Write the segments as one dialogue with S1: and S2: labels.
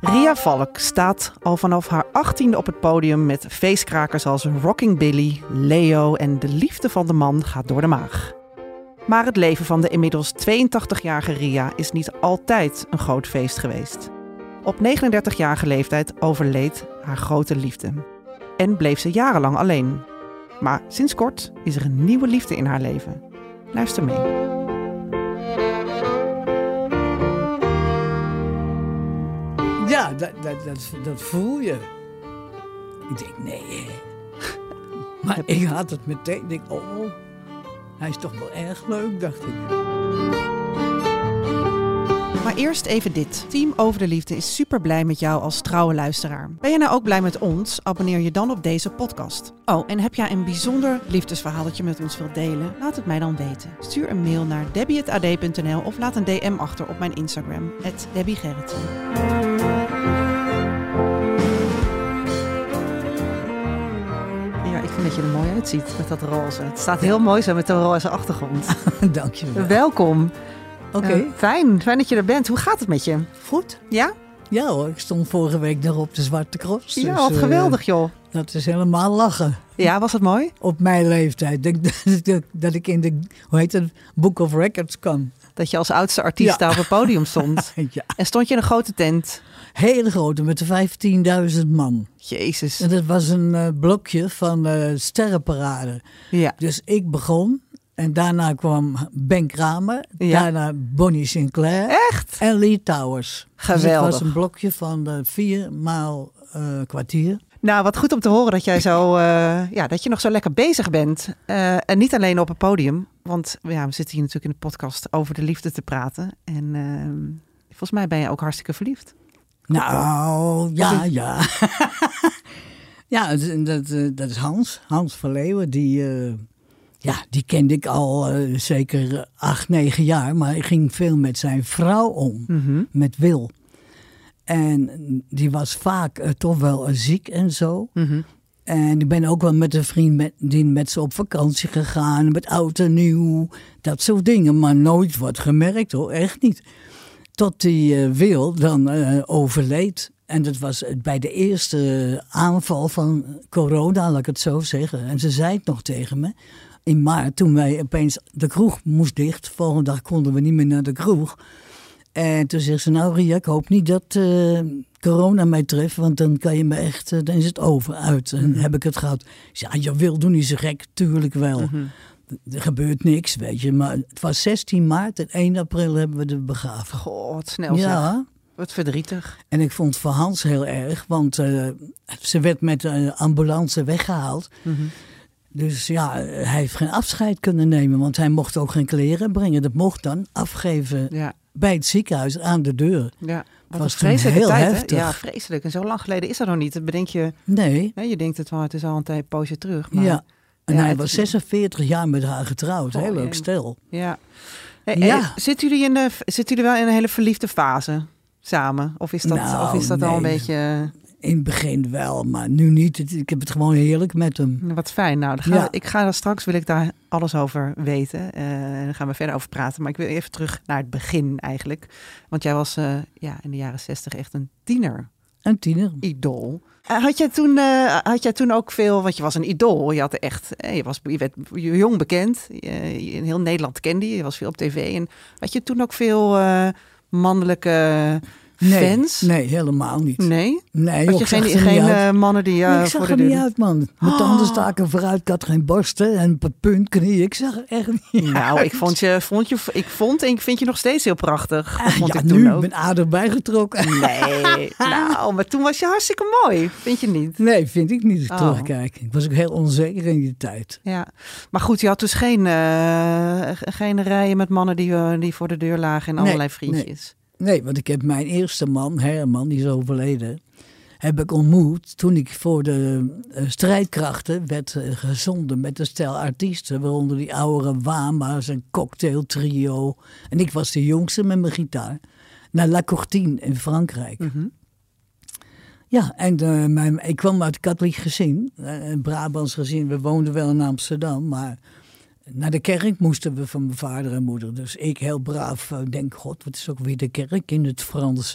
S1: Ria Valk staat al vanaf haar achttiende op het podium met feestkrakers als Rocking Billy, Leo en De Liefde van de Man gaat door de maag. Maar het leven van de inmiddels 82-jarige Ria is niet altijd een groot feest geweest. Op 39-jarige leeftijd overleed haar grote liefde en bleef ze jarenlang alleen. Maar sinds kort is er een nieuwe liefde in haar leven. Luister mee.
S2: Ja, dat, dat, dat, dat voel je. Ik denk, nee. Maar ik had het meteen. Ik denk, oh, hij is toch wel erg leuk, dacht ik.
S1: Maar eerst even dit. Team Over de Liefde is super blij met jou als trouwe luisteraar. Ben je nou ook blij met ons? Abonneer je dan op deze podcast. Oh, en heb jij een bijzonder liefdesverhaal dat je met ons wilt delen? Laat het mij dan weten. Stuur een mail naar debbie.ad.nl of laat een DM achter op mijn Instagram, @debbiegerritsen. Ja, ik vind dat je er mooi uitziet met dat roze. Het staat heel mooi zo met de roze achtergrond.
S2: Dank je wel.
S1: Welkom.
S2: Oké,
S1: Eh, fijn, fijn dat je er bent. Hoe gaat het met je?
S2: goed.
S1: Ja?
S2: Ja hoor, ik stond vorige week nog op de Zwarte Cross.
S1: ja,
S2: dus,
S1: wat
S2: eh,
S1: geweldig joh.
S2: dat is helemaal lachen.
S1: Ja, was dat mooi?
S2: Op mijn leeftijd. Ik Denk dat, dat, dat ik in de, hoe heet het, Book of Records kwam.
S1: Dat je als oudste artiest
S2: Ja.
S1: daar op het podium stond.
S2: Ja,
S1: En stond je in een grote tent.
S2: hele grote, met 15.000 man.
S1: Jezus.
S2: En dat was een eh, blokje van eh, sterrenparade.
S1: Ja.
S2: Dus ik begon. En daarna kwam Ben Kramer.
S1: Ja.
S2: Daarna Bonnie Sinclair.
S1: Echt?
S2: En Lee Towers. Dus het
S1: Geweldig.
S2: was een blokje van eh, vier maal eh, kwartier.
S1: Nou, wat goed om te horen dat jij zo, eh, ja, dat je nog zo lekker bezig bent. Eh, en niet alleen op het podium. Want ja, we zitten hier natuurlijk in de podcast over de liefde te praten. En eh, volgens mij ben je ook hartstikke verliefd.
S2: Nou, ja, ja. ja, het- dat, eh, dat is Hans. Hans van Leeuwen. Die, eh, ja, die kende ik al eh, zeker acht, negen jaar. Maar ik ging veel met zijn vrouw om. Met Wil. En die was vaak eh, toch wel eh, ziek en zo. En ik ben ook wel met een vriend met, die met ze op vakantie gegaan. Met oud en nieuw. Dat soort dingen. Maar nooit wat gemerkt hoor. Echt niet. Tot die eh, Wil dan eh, overleed. En dat was eh, bij de eerste aanval van corona, laat ik het zo zeggen. En ze zei het nog tegen me. In maart, toen wij opeens de kroeg moest dicht. Volgende dag konden we niet meer naar de kroeg. En toen zegt ze, nou Ria, ik hoop niet dat eh, corona mij treft, want dan kan je me echt, eh, dan is het over, uit. En heb ik het gehad. Ik zei, "Ah, je wil doen niet zo gek, tuurlijk wel. D- Er gebeurt niks, weet je. Maar het was 16 maart en 1 april hebben we de begraven.
S1: Goh, wat snel zeg.
S2: ja,
S1: Wat verdrietig.
S2: en ik vond het voor Hans heel erg, want eh, ze werd met een ambulance weggehaald.
S1: Mhm.
S2: Dus ja, hij heeft geen afscheid kunnen nemen, want hij mocht ook geen kleren brengen. Dat mocht dan afgeven
S1: Ja,
S2: bij het ziekenhuis aan de deur.
S1: ja. Wat
S2: was
S1: een
S2: toen
S1: vreselijke
S2: heel
S1: tijd, hè?
S2: heftig.
S1: Ja, vreselijk. En zo lang geleden is dat nog niet. Dat bedenk je,
S2: Nee,
S1: hè, je denkt het wel, het is al een tijd poosje terug. Maar
S2: ja. En
S1: Ja,
S2: hij
S1: het
S2: was
S1: is-
S2: 46 jaar met haar getrouwd.
S1: Oh,
S2: Heel leuk
S1: jee.
S2: stel.
S1: Ja. Hey,
S2: Ja.
S1: hey, zitten, jullie in de, zitten jullie wel in een hele verliefde fase samen? Of is dat,
S2: Nou,
S1: of is dat al een
S2: nee.
S1: beetje...
S2: In het begin wel, maar nu niet. Het- Ik heb het gewoon heerlijk met hem.
S1: Nou, Wat fijn. Nou, dan gaan we-
S2: Ja.
S1: ik ga daar straks wil ik daar alles over weten. Eh en daar gaan we verder over praten. Maar ik wil even terug naar het begin eigenlijk. Want jij was eh, ja, in de jaren zestig echt een tiener-idool.
S2: Een tiener.
S1: Eh, Had jij, toen, eh, had jij toen ook veel, want je was een idool. Je had echt, eh, je, was, je werd jong bekend. Je- je- in heel Nederland kende je. Je was veel op tv. En had je toen ook veel eh, mannelijke
S2: Nee,
S1: fans?
S2: Nee, helemaal niet. Nee,
S1: Nee?
S2: joh,
S1: Had je
S2: ik zag
S1: geen,
S2: er niet
S1: geen
S2: uit.
S1: eh, mannen die
S2: Nee,
S1: eh
S2: ik
S1: voor
S2: zag
S1: de Ah.
S2: er niet
S1: deur-
S2: uit, man. Mijn tanden staken vooruit, ik had geen borsten en p- punt, knie. Ik zag er echt niet
S1: Nou,
S2: uit.
S1: ik vond je, vond je, ik vond en ik vind je nog steeds heel prachtig. Dat
S2: Ah,
S1: vond
S2: ja,
S1: ik toen
S2: nu
S1: ook.
S2: ben aardig bijgetrokken.
S1: Nee, nou, maar toen was je hartstikke mooi, vind je niet?
S2: Nee, vind ik niet.
S1: Oh.
S2: Terugkijken. Ik was ook heel onzeker in die tijd.
S1: Ja, maar goed, je had dus geen, eh, g- geen rijen met mannen die, eh, die voor de deur lagen en
S2: Nee,
S1: allerlei
S2: nee.
S1: vriendjes.
S2: Nee, want ik heb mijn eerste man, Herman, die is overleden. heb ik ontmoet toen ik voor de eh, strijdkrachten werd eh, gezonden met een stel artiesten. Waaronder die oude Wama's, een cocktailtrio. En ik was de jongste met mijn gitaar. Naar La Courtine in Frankrijk. Ja, en eh, mijn, ik kwam uit een katholiek gezin, eh, een Brabants gezin. We woonden wel in Amsterdam, maar naar de kerk moesten we van mijn vader en moeder. Dus ik heel braaf eh, denk, god, wat is ook weer de kerk in het Frans?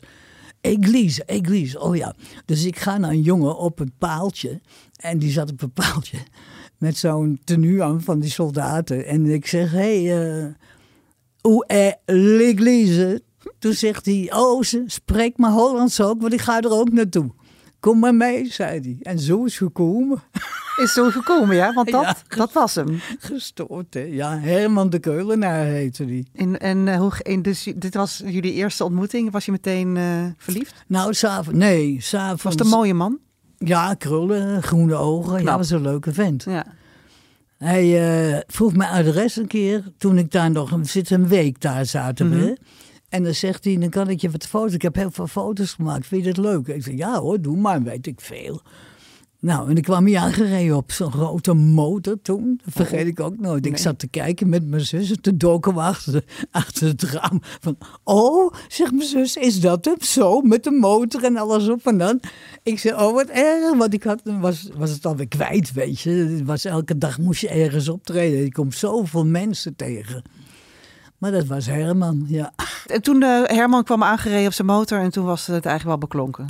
S2: Église, église, oh ja. Dus ik ga naar een jongen op een paaltje. En die zat op een paaltje met zo'n tenue aan van die soldaten. En ik zeg, hé, hey, eh, hoe est l'église? Toen zegt hij, oh, ze spreekt maar Hollands ook, want ik ga er ook naartoe. Kom maar mee, zei hij. En zo is gekomen.
S1: Is zo gekomen, ja? Want dat,
S2: Ja.
S1: dat was hem.
S2: Gestoord, hè? Ja, Herman de Keulenaar heette die.
S1: En, en, eh, hoe, ge- en dus, j- dit was jullie eerste ontmoeting. Was je meteen eh, verliefd?
S2: Nou, s'avonds... Nee, s'avonds...
S1: Was het een mooie man?
S2: Ja, krullen, groene ogen. Ja,
S1: Knap.
S2: was een leuke vent.
S1: Ja.
S2: Hij eh, vroeg mijn adres een keer toen ik daar nog we zitten een week daar zaten. we.
S1: Mhm.
S2: En dan zegt hij, dan kan ik je wat foto's. Ik heb heel veel foto's gemaakt. Vind je dat leuk? Ik zeg, ja hoor, doe maar, weet ik veel. Nou, en ik kwam hier aangereden op zo'n grote motor toen. Dat vergeet ik ook nooit. Ik zat te kijken met mijn zus. Toen doken we achter, achter het raam. Van, oh, zegt mijn zus, is dat hem? Zo, met de motor en alles op en dan. Ik zei, oh, wat erg. Want ik had, was, was het alweer kwijt, weet je. Het was, elke dag moest je ergens optreden. Je komt zoveel mensen tegen. Maar dat was Herman, ja.
S1: En toen eh, Herman kwam aangereden op zijn motor en toen was het eigenlijk wel beklonken.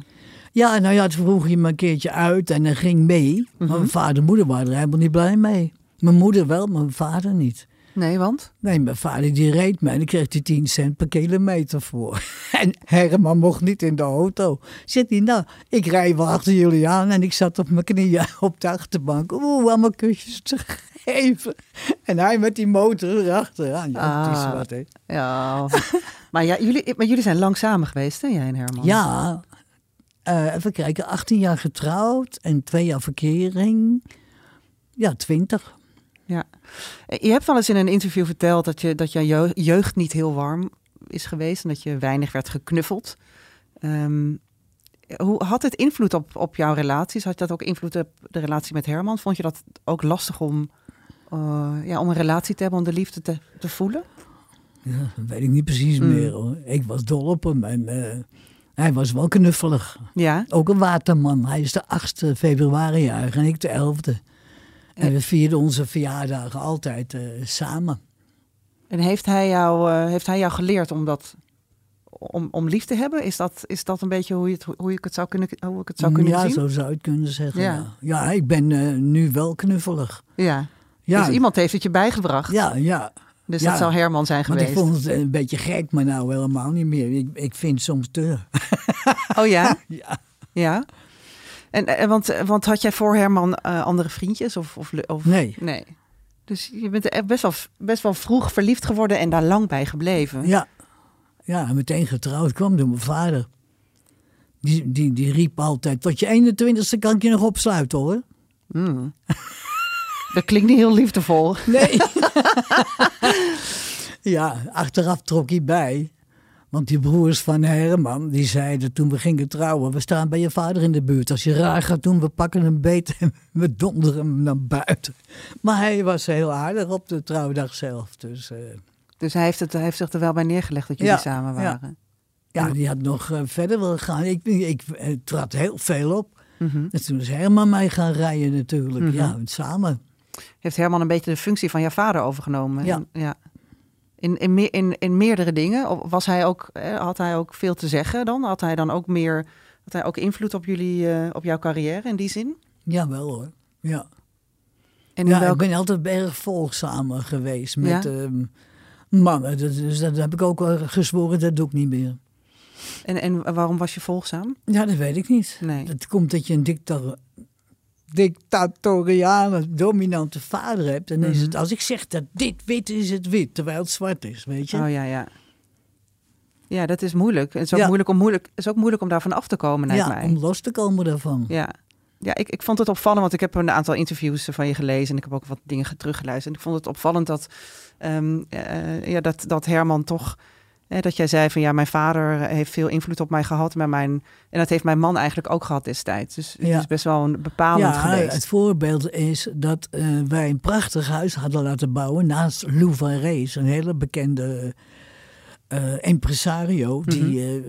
S2: Ja, nou ja, toen vroeg hij me een keertje uit en hij ging mee. Maar mijn vader en moeder waren er helemaal niet blij mee. Mijn moeder wel, maar mijn vader niet.
S1: Nee, want?
S2: Nee, mijn vader die reed mij en dan kreeg hij 10 cent per kilometer voor. En Herman mocht niet in de auto. Zit hij, nou, ik rij wel achter jullie aan en ik zat op mijn knieën op de achterbank. Oeh, allemaal kusjes te geven. En hij met die motor erachteraan. Ja, het is
S1: Ah.
S2: wat, hè.
S1: Ja. maar, ja, jullie, maar jullie zijn lang samen geweest, hè, jij en Herman?
S2: Ja, eh, even kijken. 18 jaar getrouwd en twee jaar verkering. Ja, 20.
S1: ja. Eh, Je hebt wel eens in een interview verteld dat je, dat je je- jeugd niet heel warm is geweest en dat je weinig werd geknuffeld. Ehm, hoe had het invloed op, op jouw relaties? Had dat ook invloed op de relatie met Herman? Vond je dat ook lastig om, eh, ja, om een relatie te hebben, om de liefde te, te voelen?
S2: Ja, dat weet ik niet precies
S1: Mm.
S2: meer hoor. Ik was dol op hem en eh, hij was wel knuffelig.
S1: Ja.
S2: Ook een waterman. Hij is de 8e februari jarig en ik de 11e. En we vierden onze verjaardagen altijd eh, samen.
S1: En heeft hij jou, eh, heeft hij jou geleerd om, dat, om, om lief te hebben? Is dat, is dat een beetje hoe, je het, hoe, ik het zou kunnen, hoe ik het zou kunnen
S2: ja,
S1: zien?
S2: zo zou je het kunnen zeggen.
S1: Ja.
S2: Ja, ja. ik ben eh, nu wel knuffelig.
S1: Ja.
S2: Ja.
S1: Dus iemand heeft het je bijgebracht.
S2: Ja, ja.
S1: Dus
S2: Ja.
S1: dat zou Herman zijn
S2: Want
S1: geweest.
S2: ik vond het een beetje gek, maar nou helemaal niet meer. Ik, ik vind het soms te.
S1: Oh ja?
S2: Ja.
S1: ja. En, en want, eh, want had jij voor Herman eh, andere vriendjes? Of, of, of...
S2: Nee.
S1: Nee. Dus je bent echt best wel, best wel vroeg verliefd geworden en daar lang bij gebleven.
S2: Ja. Ja, meteen getrouwd kwam door mijn vader. Die, die, die riep altijd, tot je 21ste kan ik je nog opsluiten hoor.
S1: Dat klinkt niet heel liefdevol.
S2: Nee. ja, achteraf trok hij bij. Want die broers van Herman, die zeiden toen we gingen trouwen... we staan bij je vader in de buurt. Als je raar gaat doen, we pakken hem beet en we donderen hem naar buiten. Maar hij was heel aardig op de trouwdag zelf. Dus eh,
S1: Dus hij heeft, het, hij heeft zich er wel bij neergelegd dat jullie
S2: Ja,
S1: samen
S2: ja.
S1: waren.
S2: ja, die had nog eh, verder willen gaan. Ik, ik eh, trad heel veel op. En toen is Herman mij gaan rijden natuurlijk. Ja, samen.
S1: heeft Herman een beetje de functie van jouw vader overgenomen.
S2: Ja.
S1: En- ja. In, in, meer- in, in meerdere dingen. Of Was hij ook, eh, had hij ook veel te zeggen dan? Had hij dan ook meer. Had hij ook invloed op jullie, eh, op jouw carrière in die zin?
S2: Jawel hoor, ja.
S1: En in
S2: Ja,
S1: welk-
S2: ik ben altijd erg volgzaam geweest
S1: Ja?
S2: met ehm, mannen. Dat- Dus dat heb ik ook wel gezworen, dat doe ik niet meer.
S1: en, en waarom was je volgzaam?
S2: Ja, dat weet ik niet.
S1: Nee.
S2: Dat komt dat je een dicta- dictatoriale, dominante vader hebt. En dan is het, als ik zeg dat dit wit is, het wit, terwijl het zwart is, weet je.
S1: Oh ja, ja. Ja, dat is moeilijk. Het is ook,
S2: Ja.
S1: moeilijk, om, moeilijk, het is ook moeilijk om daarvan af te komen, lijkt
S2: ja,
S1: mij.
S2: om los te komen daarvan.
S1: Ja, ja ik, ik vond het opvallend, want ik heb een aantal interviews van je gelezen en ik heb ook wat dingen teruggeluisterd. En ik vond het opvallend dat, ehm, eh, ja, dat, dat Herman toch Eh, dat jij zei van ja, mijn vader heeft veel invloed op mij gehad. Maar mijn, en dat heeft mijn man eigenlijk ook gehad destijds. Dus het
S2: Ja.
S1: is best wel een bepalend
S2: ja,
S1: geweest.
S2: het voorbeeld is dat eh, wij een prachtig huis hadden laten bouwen naast Lou van Rees, een hele bekende eh, impresario
S1: Mhm.
S2: die eh, eh,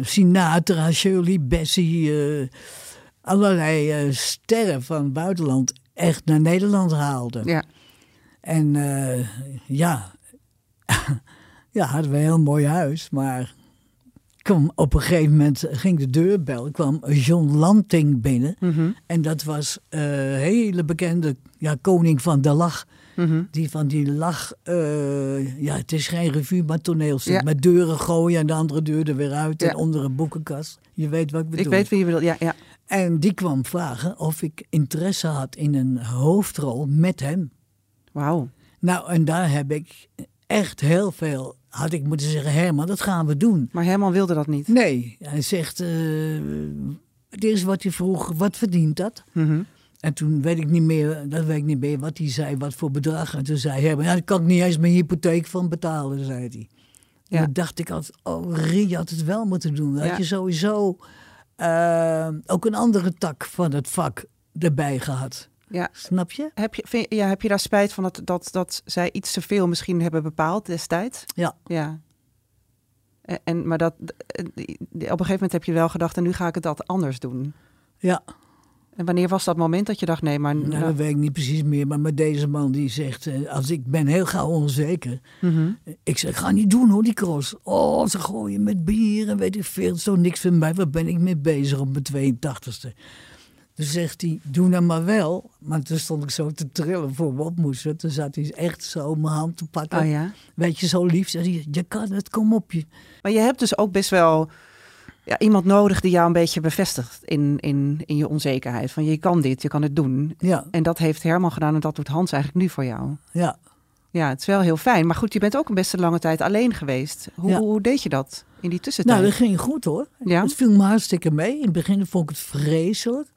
S2: Sinatra, Shirley Bessie, eh, allerlei eh, sterren van het buitenland echt naar Nederland haalde.
S1: Ja,
S2: En eh, ja, ja, hadden we een heel mooi huis, maar kwam op een gegeven moment ging de deurbel, kwam John Lanting binnen.
S1: Mhm.
S2: En dat was eh, een hele bekende ja, koning van de lach.
S1: Mhm.
S2: Die van die lach, eh, ja, het is geen revue, maar toneelstuk.
S1: Ja.
S2: Met deuren gooien en de andere deur er weer uit
S1: Ja.
S2: en onder een boekenkast. Je weet wat ik bedoel.
S1: ik weet wie je bedoelt. Ja, ja.
S2: En die kwam vragen of ik interesse had in een hoofdrol met hem.
S1: Wauw.
S2: Nou, en daar heb ik echt heel veel, had ik moeten zeggen, Herman, dat gaan we doen.
S1: Maar Herman wilde dat niet.
S2: Nee, hij zegt, eh, het is wat hij vroeg, wat verdient dat?
S1: Mhm.
S2: En toen weet ik niet meer, dat weet ik niet meer, wat hij zei, wat voor bedrag. En toen zei Herman, ja, daar kan ik niet eens mijn hypotheek van betalen, zei hij.
S1: Ja.
S2: En dan dacht ik altijd, oh, Rie had het wel moeten doen. Dan
S1: Ja.
S2: had je sowieso eh, ook een andere tak van het vak erbij gehad.
S1: Ja.
S2: Snap je?
S1: Heb je, vind- ja, heb je daar spijt van dat, dat, dat zij iets te veel misschien hebben bepaald destijds?
S2: Ja.
S1: Ja. En, en- maar dat, eh, op een gegeven moment heb je wel gedacht, en nu ga ik het dat anders doen.
S2: Ja.
S1: En wanneer was dat moment dat je dacht, nee, maar...
S2: Nou,
S1: nou-
S2: dat weet ik niet precies meer. Maar met deze man die zegt, eh, als ik ben heel gauw onzeker.
S1: Mhm.
S2: Eh, Ik zeg, ga niet doen hoor, die cross. Oh, ze gooien met bier en weet ik veel. Zo niks van mij. Waar ben ik mee bezig op mijn 82ste? Toen zegt hij, doe nou maar wel. Maar toen stond ik zo te trillen voor me op moest. zetten. Toen zat hij echt zo mijn hand te pakken.
S1: Oh ja.
S2: Weet je, zo lief. Zegt hij, je kan het, kom op je.
S1: Maar je hebt dus ook best wel ja, iemand nodig die jou een beetje bevestigt in, in, in je onzekerheid. Van je kan dit, je kan het doen.
S2: Ja,
S1: En dat heeft Herman gedaan en dat doet Hans eigenlijk nu voor jou.
S2: ja.
S1: Ja, het is wel heel fijn. Maar goed, je bent ook een best lange tijd alleen geweest. Hoe,
S2: Ja.
S1: hoe deed je dat in die tussentijd?
S2: Nou, dat ging goed hoor.
S1: Ja?
S2: Het viel me hartstikke mee. In het begin vond ik het vreselijk.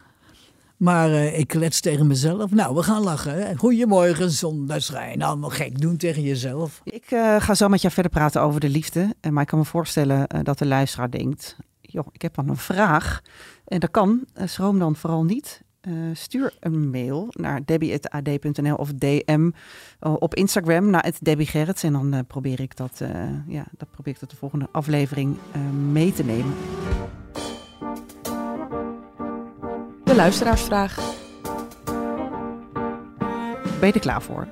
S2: Maar eh, ik klets tegen mezelf. Nou, we gaan lachen. Hè? Goedemorgen, zonneschijn. Nou, Allemaal gek doen tegen jezelf.
S1: Ik eh, ga zo met jou verder praten over de liefde. Eh, Maar ik kan me voorstellen eh, dat de luisteraar denkt... joh, ik heb dan een vraag. En dat kan. Eh, schroom dan vooral niet. Eh, stuur een mail naar debbie.ad.nl of dm eh, op Instagram naar het Debbie Gerrits. En dan eh, probeer ik dat, eh, ja, dat probeer ik dat de volgende aflevering eh, mee te nemen.
S3: De luisteraarsvraag.
S1: Ben je er klaar voor?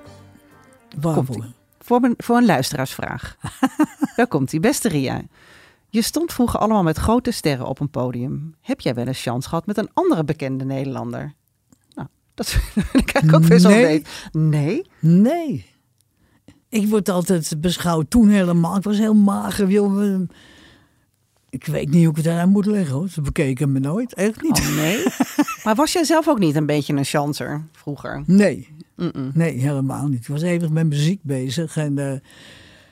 S2: Waarvoor?
S1: Voor een, voor een luisteraarsvraag. Daar komt die beste Ria. Je stond vroeger allemaal met grote sterren op een podium. Heb jij wel eens kans gehad met een andere bekende Nederlander? Nou, dat vind ik eigenlijk ook best wel
S2: Nee.
S1: nee. Nee?
S2: Nee. Ik word altijd beschouwd. Toen helemaal. Ik was heel mager. Joh. Ik weet niet hoe ik het aan moet leggen. Hoor. Ze bekeken me nooit. Echt niet.
S1: Oh, nee. maar was jij zelf ook niet een beetje een chancer vroeger?
S2: Nee. Nee, helemaal niet. Ik was even met muziek bezig. En eh,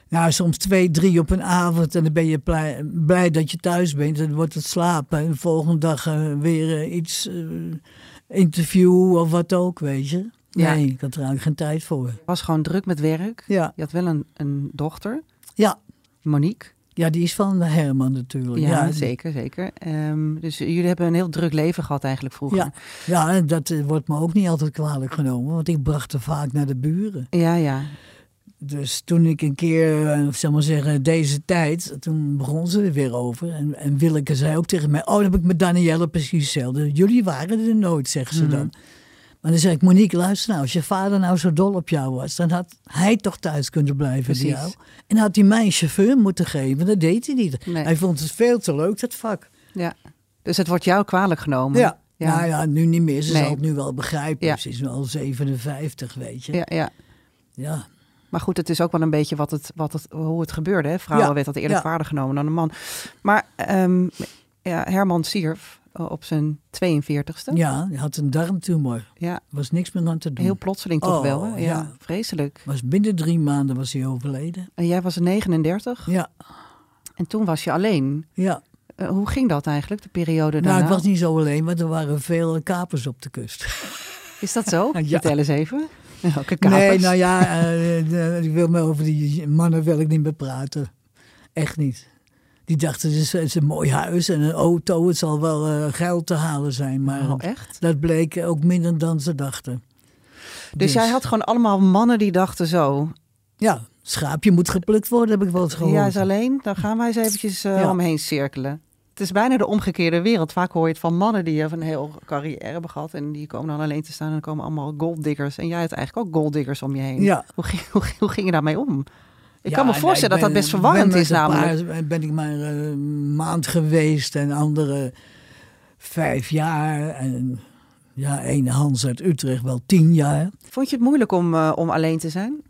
S2: nou, soms twee, drie op een avond. En dan ben je blij, blij dat je thuis bent. En dan wordt het slapen. En de volgende dag eh, weer eh, iets, eh, interview of wat ook, weet je.
S1: Ja.
S2: Nee, ik had er eigenlijk geen tijd voor.
S1: Was gewoon druk met werk.
S2: Ja,
S1: Je had wel een, een dochter,
S2: ja.
S1: Monique.
S2: ja die is van Herman natuurlijk.
S1: Ja, zeker, zeker. Ehm, dus jullie hebben een heel druk leven gehad eigenlijk vroeger.
S2: Ja, ja, en dat eh, wordt me ook niet altijd kwalijk genomen. Want ik bracht er vaak naar de buren.
S1: ja. ja.
S2: Dus toen ik een keer, eh, zeg maar zeggen, deze tijd, toen begon ze er weer over. En, en Willeke zei ook tegen mij, oh, dan heb ik met Danielle precies hetzelfde. Jullie waren er nooit, zegt
S1: Mhm.
S2: ze dan. Maar dan zei ik, Monique, luister nou, als je vader nou zo dol op jou was, dan had hij toch thuis kunnen blijven bij
S1: Precies.
S2: jou. En had hij mij een chauffeur moeten geven, dat deed hij niet.
S1: Nee.
S2: Hij vond het veel te leuk, dat vak.
S1: Ja. Dus het wordt jou kwalijk genomen.
S2: Ja.
S1: Ja.
S2: Nou ja, nu niet meer. Ze
S1: Nee.
S2: zal het nu wel begrijpen.
S1: Ja.
S2: Ze is nu al 57, weet je.
S1: Ja, ja.
S2: ja.
S1: Maar goed, het is ook wel een beetje wat het, wat het, hoe het gebeurde. Hè? Vrouwen
S2: Ja,
S1: werd dat eerlijk
S2: ja.
S1: waarder genomen dan een man. Maar ehm, ja, Herman stierf eh, op zijn 42ste. Ja,
S2: ja hij had een darmtumor. was niks meer aan te doen.
S1: heel plotseling toch
S2: Oh,
S1: wel. Hè? Ja,
S2: ja.
S1: Vreselijk.
S2: Was binnen drie maanden was hij overleden.
S1: En jij was 39
S2: Ja,
S1: en toen was je alleen.
S2: ja.
S1: Eh, hoe ging dat eigenlijk, de periode daarna?
S2: Nou, ik was niet zo alleen, want er waren veel kapers op de kust.
S1: Is dat zo?
S2: Ja.
S1: Vertel eens even. Welke kapers?
S2: nou Nee, nou ja, eh, eh, ik wil me over die mannen wil ik niet meer praten. Echt niet. Die dachten, het is, het is een mooi huis en een auto. Het zal wel eh, geld te halen zijn. Maar
S1: Oh, echt?
S2: dat bleek ook minder dan ze dachten.
S1: Dus, jij had gewoon allemaal mannen die dachten zo.
S2: Ja, schaapje moet geplukt worden, heb ik wel eens gehoord.
S1: Ja, is alleen. Dan gaan wij eens eventjes eh,
S2: Ja.
S1: omheen cirkelen. Het is bijna de omgekeerde wereld. Vaak hoor je het van mannen die een heel carrière hebben gehad. En die komen dan alleen te staan en dan komen allemaal golddiggers. En jij had eigenlijk ook golddiggers om je heen.
S2: Ja.
S1: Hoe, ging, hoe, ging- hoe ging je daarmee om? Ik
S2: Ja,
S1: kan me
S2: nee,
S1: voorstellen
S2: ik
S1: dat dat
S2: ben-
S1: best verwarrend
S2: ben
S1: is
S2: met een
S1: namelijk.
S2: paar- ben ik maar eh, een maand geweest en andere vijf jaar. En ja, één Hans uit Utrecht wel tien jaar.
S1: Vond je het moeilijk om, eh, om alleen te zijn?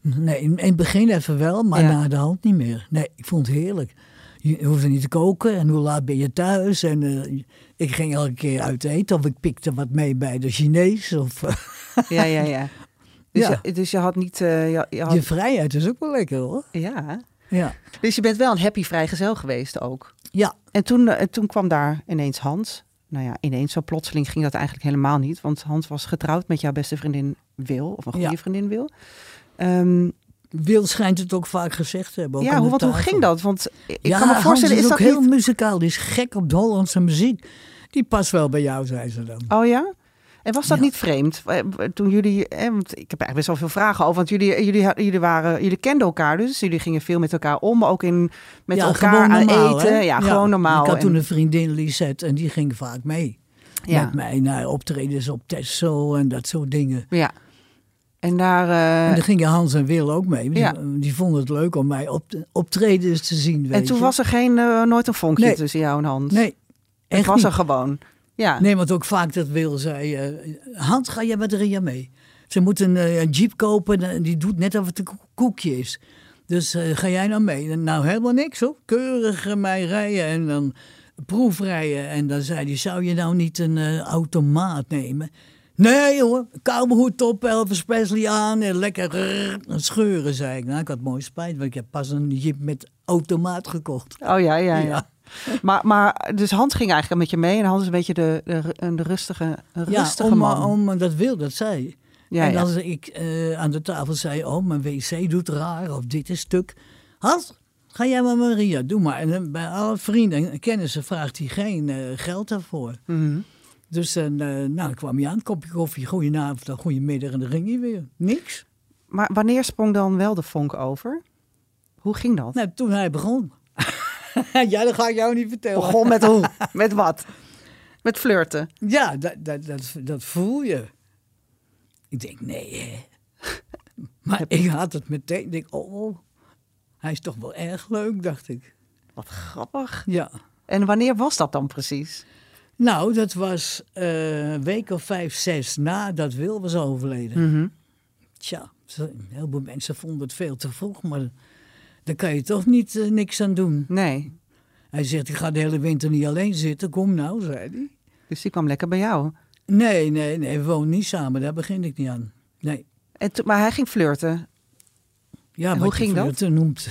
S2: Nee, in in het begin even wel, maar
S1: Ja.
S2: na de hand niet meer. Nee, ik vond het heerlijk. Je hoefde niet te koken en hoe laat ben je thuis? En eh, ik ging elke keer uit eten of ik pikte wat mee bij de Chinees. Of, eh,
S1: Ja, ja, ja. Dus,
S2: Ja.
S1: Je, dus je had niet... eh, je, je had,
S2: Je vrijheid is ook wel lekker hoor.
S1: Ja.
S2: Ja,
S1: Dus je bent wel een happy vrijgezel geweest ook.
S2: ja.
S1: En toen, eh, toen kwam daar ineens Hans. Nou ja, ineens zo plotseling ging dat eigenlijk helemaal niet. Want Hans was getrouwd met jouw beste vriendin Wil. Of een goede
S2: Ja.
S1: vriendin Wil. Ehm,
S2: Wil schijnt het ook vaak gezegd te hebben. ook
S1: ja,
S2: aan
S1: hoe,
S2: de
S1: want hoe
S2: tafel.
S1: ging dat? Want ik
S2: ja,
S1: kan me voorstellen,
S2: Hans
S1: is,
S2: is,
S1: dat
S2: ook heel
S1: niet...
S2: muzikaal. Die is gek op de Hollandse muziek. Die past wel bij jou, zei ze dan.
S1: Oh ja? En was dat
S2: Ja.
S1: niet vreemd? Eh, Toen jullie, eh, want ik heb eigenlijk best wel veel vragen over, want jullie, eh, jullie, had- jullie, waren, jullie kenden elkaar dus, jullie gingen veel met elkaar om, maar ook in, met
S2: ja,
S1: elkaar aan
S2: gewoon normaal,
S1: eten.
S2: hè?
S1: Ja, gewoon normaal.
S2: Ik had
S1: En-
S2: toen een vriendin, Lisette, en die ging vaak mee.
S1: Ja.
S2: Met mij naar optredens op Texel en dat soort dingen.
S1: Ja. En daar... eh,
S2: en daar gingen Hans en Wil ook mee. Die,
S1: ja.
S2: die vonden het leuk om mij op, optredens te zien, weet
S1: en toen
S2: je.
S1: was er geen, eh, nooit een vonkje
S2: Nee.
S1: tussen jou en Hans.
S2: Nee,
S1: Het
S2: echt
S1: was
S2: niet.
S1: er gewoon. Ja.
S2: Nee, want ook vaak dat Wil zei... eh, Hans, ga jij met Ria mee? Ze moet een, eh, een jeep kopen en die doet net of het een koek- koekje is. Dus eh, ga jij nou mee? En Nou, helemaal niks hoor. Keurig eh, mij rijden en dan proefrijden. En dan zei hij, zou je nou niet een eh, automaat nemen? Nee hoor, hoed op, Elvis Presley aan en lekker rrr, en scheuren, zei ik. Nou, ik had mooi spijt, want ik heb pas een jeep met automaat gekocht.
S1: Oh ja, ja, ja.
S2: Ja.
S1: Maar, maar dus Hans ging eigenlijk met je mee en Hans is een beetje de, de, een rustige, een rustige
S2: om,
S1: man.
S2: om dat wil dat zij.
S1: Ja,
S2: en
S1: ja.
S2: als ik eh, aan de tafel zei, oh, mijn wc doet raar, of dit is stuk. Hans, ga jij maar Maria, doe maar. En dan bij alle vrienden en kennissen vraagt hij geen eh, geld daarvoor.
S1: Mhm.
S2: Dus dan, eh, nou, dan kwam hij aan, kopje koffie, goedenavond, of goedemiddag, en dan ging hij weer. Niks.
S1: Maar wanneer sprong dan wel de vonk over? Hoe ging dat?
S2: Nou, toen hij begon. ja, dat ga ik jou niet vertellen.
S1: Begon met hoe? Met wat? Met flirten.
S2: Ja, dat, dat, dat, dat voel je. Ik denk, nee. Hè. Maar ik had het meteen. Ik denk, oh, hij is toch wel erg leuk, dacht ik.
S1: Wat grappig.
S2: Ja.
S1: En wanneer was dat dan precies?
S2: Nou, dat was eh, een week of vijf, zes nadat Wil was overleden. Tja, ze- een heleboel mensen vonden het veel te vroeg, maar daar kan je toch niet, eh, niks aan doen.
S1: Nee.
S2: Hij zegt, ik ga de hele winter niet alleen zitten. Kom nou, zei hij.
S1: Dus die kwam lekker bij jou.
S2: Nee, nee, nee, we wonen niet samen. Daar begin ik niet aan. Nee.
S1: En toen- maar hij ging flirten.
S2: Ja,
S1: En
S2: wat
S1: hoe
S2: je
S1: ging dat?
S2: flirten noemt.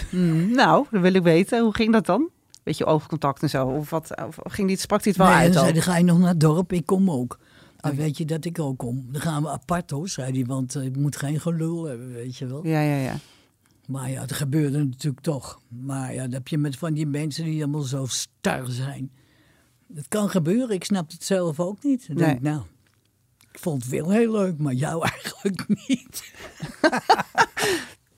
S1: Nou, dat wil ik weten. Hoe ging dat dan? Beetje oogcontact en zo. Of, wat, of ging die, sprak hij het wel
S2: nee,
S1: uit
S2: dan
S1: al?
S2: zei hij, ga je nog naar het dorp? Ik kom ook. Dan weet je dat ik ook kom. Dan gaan we apart hoor, zei hij, want eh, ik moet geen gelul hebben, weet je wel.
S1: Ja, ja, ja.
S2: Maar ja, het gebeurde natuurlijk toch. Maar ja, dat heb je met van die mensen die allemaal zo star zijn. Het kan gebeuren, ik snap het zelf ook niet. Dan denk ik, nou, ik vond Wil heel leuk, maar jou eigenlijk niet.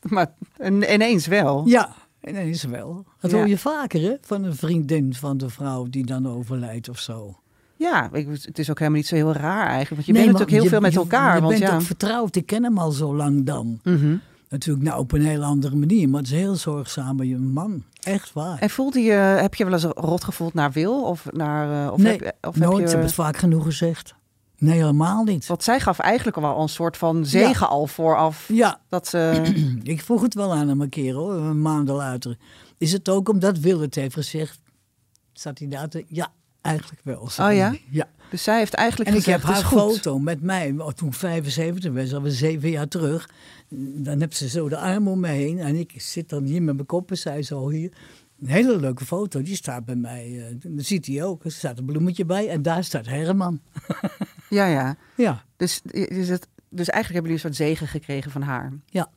S1: Maar in- ineens wel.
S2: Ja, en dat is wel. Dat
S1: Ja.
S2: hoor je vaker, hè? Van een vriendin van de vrouw die dan overlijdt of zo.
S1: Ja, ik, het is ook helemaal niet zo heel raar eigenlijk. Want je
S2: Nee,
S1: bent
S2: maar
S1: natuurlijk heel
S2: je-
S1: veel met
S2: je-
S1: elkaar.
S2: Je
S1: want
S2: bent
S1: ja.
S2: ook vertrouwd. Ik ken hem al zo lang dan.
S1: Mhm.
S2: Natuurlijk nou op een hele andere manier. Maar het is heel zorgzaam bij je man. Echt waar.
S1: En voelde je, heb je wel eens rot gevoeld naar Wil? Of naar, eh, of
S2: nee,
S1: heb, je- of
S2: nooit. Ik
S1: Heb
S2: heb
S1: je,
S2: het vaak genoeg gezegd. Nee, helemaal niet.
S1: want zij gaf eigenlijk wel een soort van zegen al vooraf.
S2: Ja,
S1: Dat ze,
S2: ik vroeg het wel aan hem een keer hoor. Een maanden later. Is het ook omdat Wil het heeft gezegd? Zat hij daar te... Ja, eigenlijk wel. zei
S1: Oh ja?
S2: hij. Ja.
S1: dus zij heeft eigenlijk
S2: En ik
S1: gezegd,
S2: heb haar
S1: "Het is goed."
S2: foto met mij, oh, toen ik 75 was, alweer zeven jaar terug. Dan heb ze zo de arm om me heen en ik zit dan hier met mijn kop en zij zo hier. Een hele leuke foto, die staat bij mij. eh, Dat ziet hij ook, er staat een bloemetje bij en daar staat Herman.
S1: Ja, ja.
S2: Ja,
S1: Dus, is het, dus eigenlijk hebben jullie een soort zegen gekregen van haar.
S2: ja.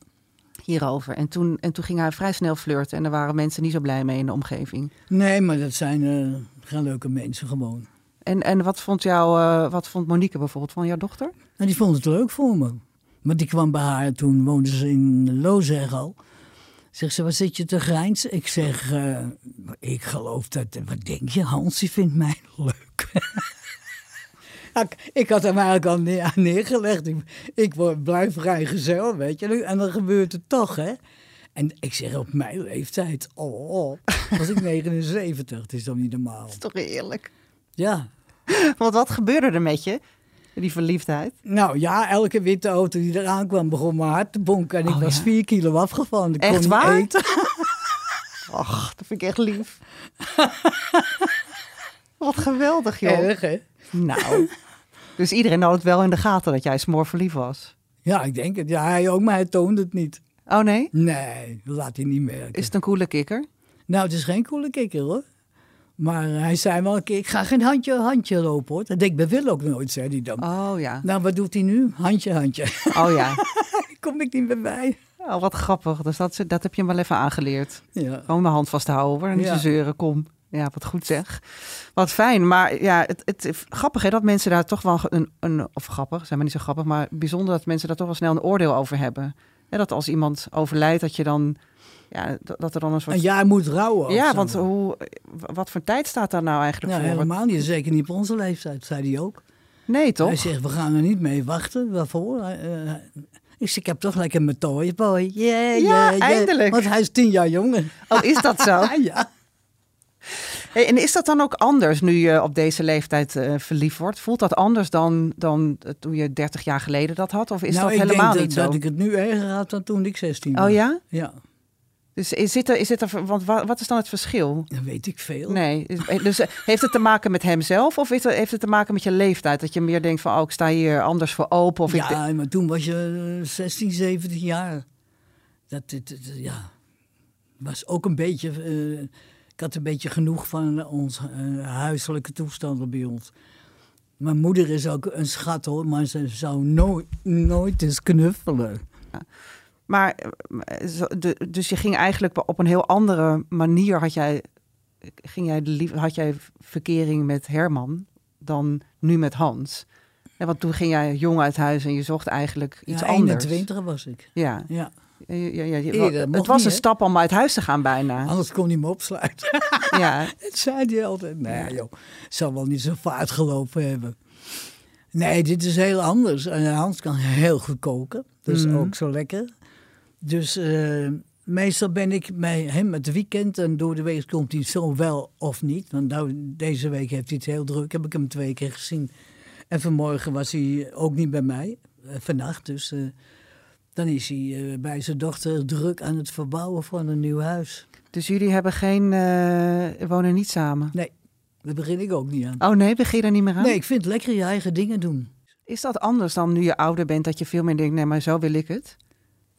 S1: hierover. En toen, en toen ging hij vrij snel flirten. En daar waren mensen niet zo blij mee in de omgeving.
S2: Nee, maar dat zijn eh, geen leuke mensen gewoon.
S1: En, en wat, vond jou, eh, wat vond Monique bijvoorbeeld van jouw dochter?
S2: En die vond het leuk voor me. Maar die kwam bij haar, toen woonde ze in Lozeg al. Zegt ze, waar zit je te grijns? Ik zeg, eh, ik geloof dat... Wat denk je, Hans, die vindt mij leuk. ik, ik had hem eigenlijk al neer, aan neergelegd. Ik, ik word, blijf vrijgezel, weet je. En dan gebeurt het toch, hè. En ik zeg, op mijn leeftijd, oh, oh was ik 79. Het is dan niet normaal.
S1: is toch eerlijk?
S2: Ja,
S1: Want wat gebeurde er met je? Die verliefdheid.
S2: Nou ja, elke witte auto die eraan kwam begon mijn hart te bonken. En ik
S1: Oh,
S2: was
S1: ja?
S2: vier kilo afgevallen. Ik kon
S1: Echt
S2: niet
S1: waar?
S2: eten.
S1: Ach, dat vind ik echt lief. wat geweldig, joh.
S2: Erg, hè?
S1: Nou, dus iedereen had het wel in de gaten dat jij smoorverliefd was.
S2: Ja, ik denk het. Ja, hij ook, maar hij toonde het niet.
S1: Oh nee?
S2: Nee, dat laat hij niet merken.
S1: Is het een coole kikker?
S2: Nou, het is geen coole kikker, hoor. Maar hij zei wel een keer, ik ga geen handje handje lopen, hoor. Dat deed ik bij Wil ook nooit, zei hij dan.
S1: Oh ja.
S2: Nou, wat doet hij nu? Handje, handje.
S1: Oh ja.
S2: Kom ik niet bij mij.
S1: Oh, wat grappig. Dus dat, dat heb je hem wel even aangeleerd.
S2: Ja.
S1: Gewoon mijn hand vast te houden hoor. En niet
S2: Ja.
S1: te zeuren, kom. Ja, wat goed zeg. Wat fijn. Maar ja, het, het grappig hè, dat mensen daar toch wel een, een... Of grappig, zijn maar niet zo grappig. Maar bijzonder dat mensen daar toch wel snel een oordeel over hebben. Hè, dat als iemand overlijdt, dat je dan... Ja, dat, dat er dan een soort...
S2: Een jaar moet rouwen. of
S1: ja,
S2: zo.
S1: want hoe, wat voor tijd staat daar nou eigenlijk
S2: Nou,
S1: voor? Wat-
S2: helemaal niet. Zeker niet op onze leeftijd, zei hij ook.
S1: Nee,
S2: Hij
S1: toch?
S2: zegt, we gaan er niet mee wachten. Waarvoor? Eh, eh, ik zeg, ik heb toch lekker mijn toy boy. Yeah, yeah, yeah.
S1: eindelijk.
S2: Want hij is tien jaar jonger.
S1: Oh, is dat zo?
S2: Ah, ja.
S1: Hey, en is dat dan ook anders nu je op deze leeftijd eh, verliefd wordt? Voelt dat anders dan, dan eh, toen je 30 jaar geleden dat had? Of is
S2: nou,
S1: dat
S2: ik
S1: helemaal
S2: denk
S1: niet
S2: dat,
S1: zo?
S2: dat ik het nu erger had dan toen ik 16 was.
S1: Oh ja?
S2: Ja,
S1: Dus is dit er, is dit er, want wa- wat is dan het verschil?
S2: dat weet ik veel.
S1: Nee, is- dus eh, heeft het te maken met hemzelf of is het- heeft het te maken met je leeftijd? Dat je meer denkt van, oh, ik sta hier anders voor open. Of ik de-
S2: ja, maar toen was je eh, 16, 17 jaar. Dat, dit dit- ja, was ook een beetje... eh, ik had een beetje genoeg van ons eh, huiselijke toestanden bij ons. Mijn moeder is ook een schat hoor, maar ze zou nooit, nooit eens knuffelen.
S1: Maar eh, zo- de- dus je ging eigenlijk op een heel andere manier had jij, ging jij de lief, had jij verkering met Herman dan nu met Hans. En want toen ging jij jong uit huis en je zocht eigenlijk iets
S2: ja,
S1: anders.
S2: 21 was ik.
S1: Ja.
S2: Ja.
S1: Ja, ja, ja,
S2: Eerder, dat
S1: het
S2: mocht
S1: was
S2: niet,
S1: een
S2: hè? Oh.
S1: stap om uit huis te gaan bijna.
S2: Anders kon hij me opsluiten.
S1: Ja.
S2: dat zei hij altijd. Nee joh, zal wel niet zo vaart gelopen hebben. Nee, dit is heel anders. En Hans kan heel goed koken. Dat is ook zo lekker. Dus eh, meestal ben ik bij hem het weekend. En door de week komt hij zo wel of niet. Want nou, deze week heeft hij het heel druk. Heb ik hem twee keer gezien. En vanmorgen was hij ook niet bij mij. eh, vannacht dus. eh, dan is hij eh, bij zijn dochter druk aan het verbouwen van een nieuw huis.
S1: Dus jullie hebben geen, eh, wonen niet samen.
S2: Nee, daar begin ik ook niet aan.
S1: Oh nee, begin je daar niet meer aan?
S2: Nee, ik vind het lekker je eigen dingen doen.
S1: Is dat anders dan nu je ouder bent, dat je veel meer denkt, nee, maar zo wil ik het?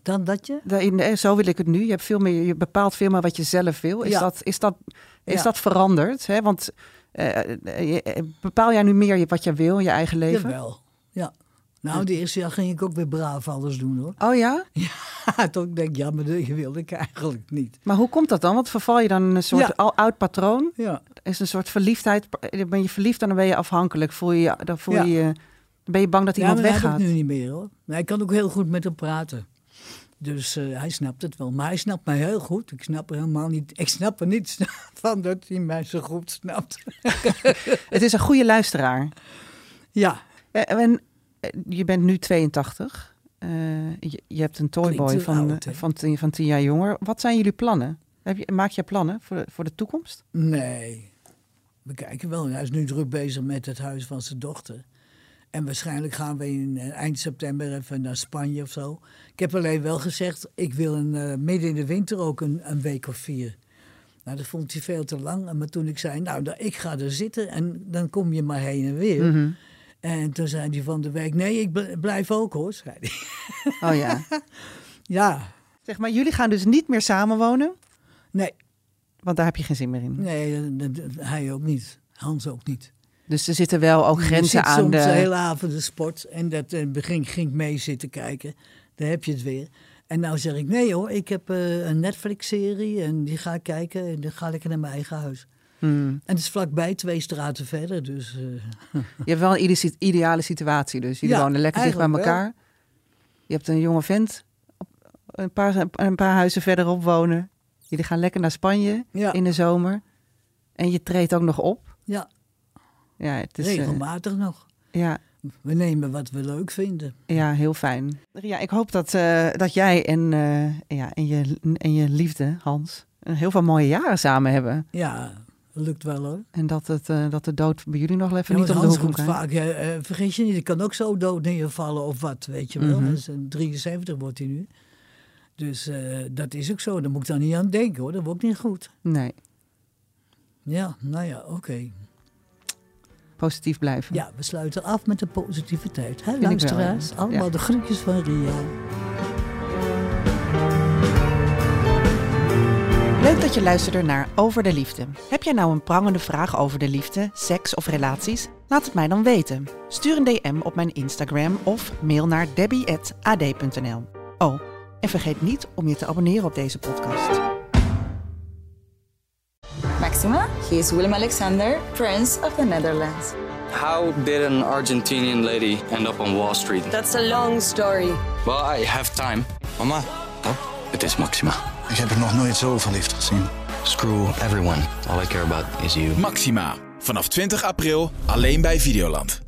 S2: Dan dat je?
S1: Daarin, eh, zo wil ik het nu. Je, hebt veel meer, je bepaalt veel meer wat je zelf wil. Is,
S2: Ja.
S1: dat, is, dat, is
S2: Ja.
S1: dat veranderd? Hè? Want eh, eh, je- eh, bepaal jij nu meer je- wat je wil in je eigen leven?
S2: Jawel. Ja. Nou, de eerste jaar ging ik ook weer braaf alles doen hoor.
S1: Oh ja?
S2: Ja, toen ik denk, ja, maar dat wilde ik eigenlijk niet.
S1: Maar hoe komt dat dan? Want verval je dan in een soort
S2: Ja.
S1: al, oud patroon?
S2: Ja.
S1: Is een soort verliefdheid? Dan ben je verliefd en dan ben je afhankelijk. Voel je, je- dan, voel
S2: Ja.
S1: je, je- dan ben je bang dat
S2: Ja, maar
S1: iemand
S2: dat heb
S1: weggaat.
S2: ik nu niet meer hoor. Maar ik kan ook heel goed met hem praten. Dus eh, hij snapt het wel. Maar hij snapt mij heel goed. Ik snap er helemaal niet. Ik snap er niets van dat hij mij zo goed snapt.
S1: Het is een goede luisteraar.
S2: Ja,
S1: Eh, En eh, je bent nu 82. Eh, je, je hebt een toyboy
S2: Klinkt heel
S1: van,
S2: oud,
S1: eh,
S2: hè?
S1: van, tien, van tien jaar jonger. Wat zijn jullie plannen? Heb je, maak je plannen voor de, voor de toekomst?
S2: Nee. We kijken wel. Hij is nu druk bezig met het huis van zijn dochter. En waarschijnlijk gaan we in eh, eind september even naar Spanje of zo. Ik heb alleen wel gezegd, ik wil een, eh, midden in de winter ook een, een week of vier. Nou, dat vond hij veel te lang. Maar toen ik zei, nou, dan- ik ga er zitten en dan kom je maar heen en weer. En toen zei hij van de week, nee, ik bl- blijf ook hoor, zei hij.
S1: Oh ja.
S2: Ja,
S1: zeg maar, jullie gaan dus niet meer samenwonen,
S2: nee,
S1: want daar heb je geen zin meer in.
S2: nee, dat- dat- hij ook niet. Hans ook niet.
S1: Dus er zitten wel ook
S2: Je
S1: grenzen
S2: zit
S1: aan
S2: soms
S1: de.
S2: hele avond de sport en dat eh, begin ging ik mee zitten kijken. Daar heb je het weer. En nou zeg ik, nee hoor, ik heb eh, een Netflix-serie en die ga ik kijken en dan ga ik naar mijn eigen huis.
S1: Hmm.
S2: En het is vlakbij, twee straten verder, dus... eh,
S1: Je hebt wel een ide- ideale situatie dus. Jullie
S2: Ja,
S1: wonen lekker dicht bij
S2: eigenlijk wel.
S1: elkaar. Je hebt een jonge vent op- een paar, een paar huizen verderop wonen. Jullie gaan lekker naar Spanje
S2: Ja.
S1: in de zomer. En je treedt ook nog op.
S2: ja,
S1: Ja, het is, eh,
S2: regelmatig nog.
S1: ja,
S2: We nemen wat we leuk vinden.
S1: ja, heel fijn. Ja, ik hoop dat, eh, dat jij en, eh, ja, en, je, en je liefde, Hans, een heel veel mooie jaren samen hebben.
S2: Ja, lukt wel hoor.
S1: En dat, het, eh, dat de dood bij jullie nog even
S2: Ja,
S1: niet om
S2: want
S1: de
S2: Hans
S1: hoek komt.
S2: komt
S1: kijken.
S2: vaak, eh, eh, vergis je niet, ik kan ook zo dood neervallen of wat, weet je wel.
S1: Mhm.
S2: Dat is een 73 wordt hij nu. Dus eh, dat is ook zo. Daar moet ik dan niet aan denken hoor. Dat wordt ook niet goed.
S1: Nee,
S2: Ja, nou ja, oké.
S1: positief blijven.
S2: Ja, we sluiten af met de positiviteit. Hè,
S1: wel,
S2: luisteraars,
S1: ja.
S2: allemaal
S1: Ja.
S2: de groetjes van Ria.
S1: Leuk dat je luisterde naar Over de Liefde. Heb jij nou een prangende vraag over de liefde, seks of relaties? Laat het mij dan weten. Stuur een DM op mijn Instagram of mail naar debbie.ad.nl. Oh, en vergeet niet om je te abonneren op deze podcast.
S3: Maxima, he is Willem Alexander, Prince of the Netherlands.
S4: How did an Argentinian lady end up on Wall Street?
S5: That's a long story.
S4: Well, I have time. Oh,
S6: Mama, huh?
S4: It is Maxima.
S7: Ik heb er nog nooit zo verliefd gezien.
S6: screw everyone. All I care about is you.
S8: Maxima. Vanaf 20 april alleen bij Videoland.